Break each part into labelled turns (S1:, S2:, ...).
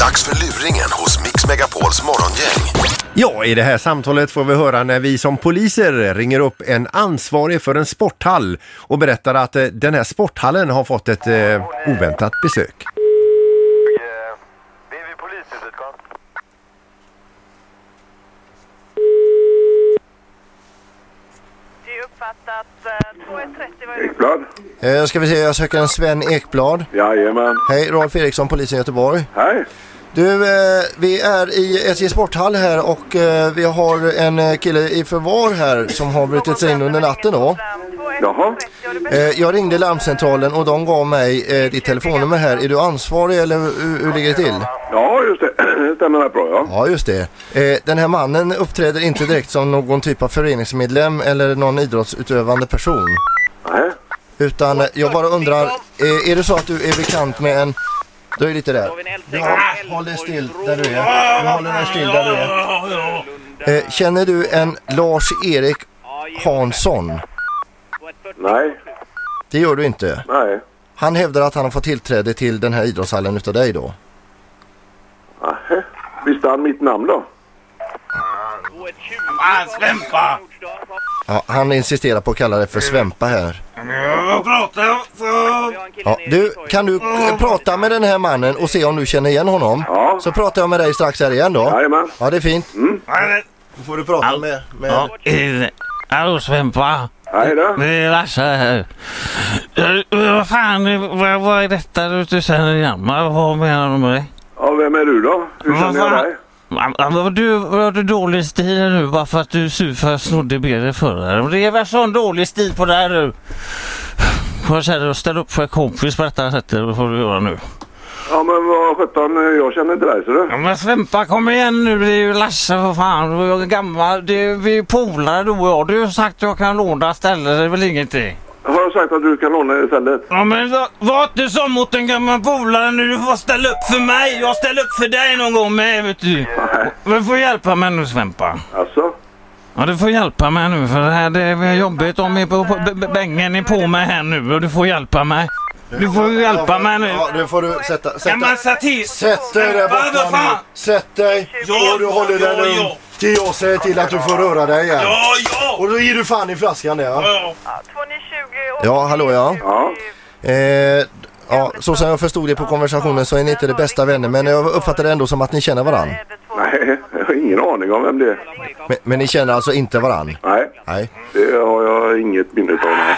S1: Dags för luringen hos Mix Megapols morgongäng.
S2: Ja, i det här samtalet får vi höra när vi som poliser ringer upp en ansvarig för en sporthall och berättar att eh, den här sporthallen har fått ett eh, oväntat besök.
S3: Eh, Det är vid polishuset, kom.
S4: Det är uppfattat. eh, 2.30 var det.
S3: Ekblad?
S5: Eh, ska vi se, jag söker en Sven Ekblad.
S3: Jajamän.
S5: Hej, Rolf Eriksson, polisen i Göteborg.
S3: Hej!
S5: Du, eh, vi är i SJ Sporthall här och eh, vi har en eh, kille i förvar här som har brutit sig in under natten då.
S3: Jaha.
S5: Eh, jag ringde larmcentralen och de gav mig eh, ditt telefonnummer här. Är du ansvarig eller hur, hur ligger det till?
S3: Ja, just det. Det stämmer rätt bra, ja.
S5: Ja, just det. Eh, den här mannen uppträder inte direkt som någon typ av föreningsmedlem eller någon idrottsutövande person.
S3: Nej.
S5: Utan eh, jag bara undrar, eh, är det så att du är bekant med en... Du är lite där. Ja, håll dig still där du är. Du håller dig still där du är. Eh, känner du en Lars-Erik Hansson?
S3: Nej.
S5: Det gör du inte.
S3: Nej.
S5: Han hävdar att han har fått tillträde till den här idrottshallen utav dig då.
S3: Nej. Visste han mitt namn då?
S6: Fan, slämpa!
S5: Ja, han insisterar på att kalla det för svempa här.
S6: Jag pratar för...
S5: Ja, du, kan du k- prata med den här mannen och se om du känner igen honom?
S3: Ja.
S5: Så pratar jag med dig strax här igen då.
S3: Jajamän.
S5: Ja, det är fint. Då får du prata med... med...
S6: Hallå slämpa!
S3: Hej då.
S6: Det är Lasse här. Eh, Vad fan, eh, vad, vad är detta du inte känner igen mig? Vad menar du med det?
S3: Ja, vem är du då? Hur
S6: Vad
S3: känner jag
S6: fan?
S3: dig?
S6: Man- man- vad Du har du dålig stil nu bara för att du är sur för att jag snodde birrer förra. Och Det är väl sån dålig stil på det här nu. Jag känner att ställa upp för en kompis på detta sättet. Det får du göra nu.
S3: Ja, men vad sjutton, jag känner inte dig, ser du.
S6: Ja, men Svempa kom igen nu, det är ju Lasse för fan. Jag är gammal. Det är, vi är ju polare du och jag. Du har sagt att jag kan låna ställe, det är väl ingenting.
S3: Har jag sagt att du kan låna det istället?
S6: Ja men va- var inte som mot en gammal polare nu. Du får ställa upp för mig. Jag ställer upp för dig någon gång med vet du.
S3: Nej.
S6: Du får hjälpa mig nu Svempa.
S3: Alltså?
S6: Ja du får hjälpa mig nu för det här det är jobbigt. Om är på, på, b- bängen är på mig här nu och du får hjälpa mig. Du får ju hjälpa mig nu.
S5: Ja, nu får du sätta...
S6: Kan
S5: sätta.
S6: man säga till sig?
S5: Sätt dig där
S6: Vad
S5: borta nu.
S6: fan?
S5: Sätt dig
S6: Ja,
S5: och du håller dig
S6: ja,
S5: lugn.
S6: ja.
S5: Till jag säger till att du får röra dig igen.
S6: Ja, ja!
S5: Och då ger du fan i flaskan där ja.
S6: ja.
S4: Ja, 2.20 och-
S5: Ja, hallå, ja.
S3: Ja.
S5: Eh, ja, så som jag förstod det på konversationen så är ni inte de bästa vänner men jag uppfattar det ändå som att ni känner varann.
S4: Är det två-
S3: Nej, jag har ingen aning om vem det är.
S5: Men, men ni känner alltså inte varann?
S3: Nej,
S5: Nej.
S3: det har jag inget minne av. nej.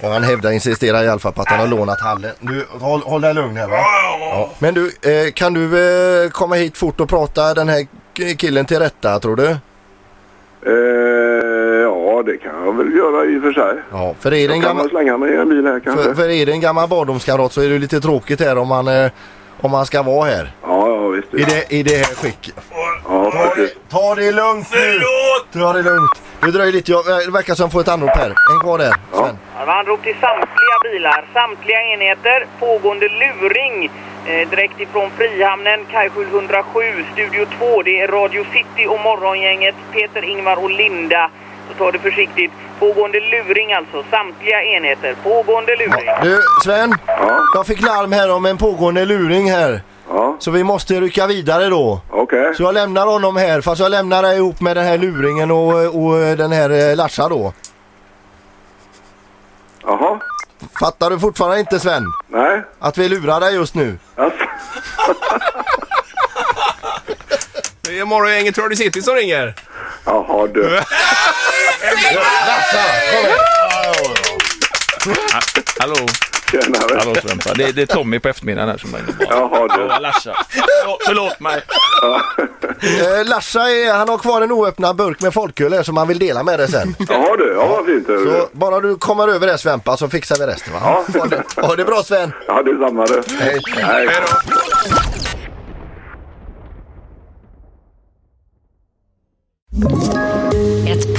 S5: Och han hävdar, insisterar i alla fall på att han har lånat hallen. Du, håll, håll dig lugn här va. Ja. Men du, eh, kan du eh, komma hit fort och prata den här k- killen till rätta tror du?
S3: Eh, ja, det kan jag väl göra i och för sig.
S5: Ja. För är det en
S3: Jag kan
S5: gammal...
S3: väl slänga mig i en bil här
S5: För,
S3: kanske.
S5: för är det en gammal barndomskamrat så är det ju lite tråkigt här om han, eh, om han ska vara här.
S3: Ja, ja, visst.
S5: I
S3: visst.
S5: det, i det här skicket.
S3: Ja,
S5: Ta det,
S3: precis.
S5: ta det lugnt nu!
S6: Förlåt!
S5: Ta det lugnt. Nu dröjer lite. Jag, det verkar som att få ett anrop här. En kvar där.
S3: Ja.
S5: Sven.
S7: Ja, Anrop till samtliga bilar, samtliga enheter, pågående luring eh, direkt ifrån Frihamnen, Kajskjul 107, Studio 2. Det är Radio City och Morgongänget, Peter, Ingvar och Linda. Så ta det försiktigt. Pågående luring alltså, samtliga enheter, pågående luring.
S5: Du, Sven.
S3: Ja,
S5: Jag fick larm här om en pågående luring här.
S3: ja,
S5: Så vi måste rycka vidare då.
S3: okej.
S5: Så jag lämnar honom här. Fast jag lämnar dig ihop med den här luringen och, och den här eh, Larsa då.
S3: Jaha,
S5: Fattar du fortfarande inte Sven?
S3: nej.
S5: Att vi lurar dig just nu?
S3: Alltså,
S8: Det är morgongänget Radio City som ringer.
S3: jaha du.
S5: Larsa! kom här.
S8: Hallå,
S3: Tjenare.
S8: hallå Svempa. Det, det är Tommy på eftermiddagen här som ringer. bara.
S3: Jaha du.
S8: Ja, Larsa. Förlåt- Förlåt mig.
S5: Eh, Larsa är, han har kvar en oöppnad burk med folköl här som han vill dela med dig sen.
S3: Jaha du, ja vad fint. hörru
S5: Så
S3: du.
S5: bara du kommer över det Svempa så fixar vi resten va?
S3: Ja.
S5: Ha det, ha det bra Sven!
S3: Ja, detsamma du.
S5: Hej.
S3: Hej.
S9: Ett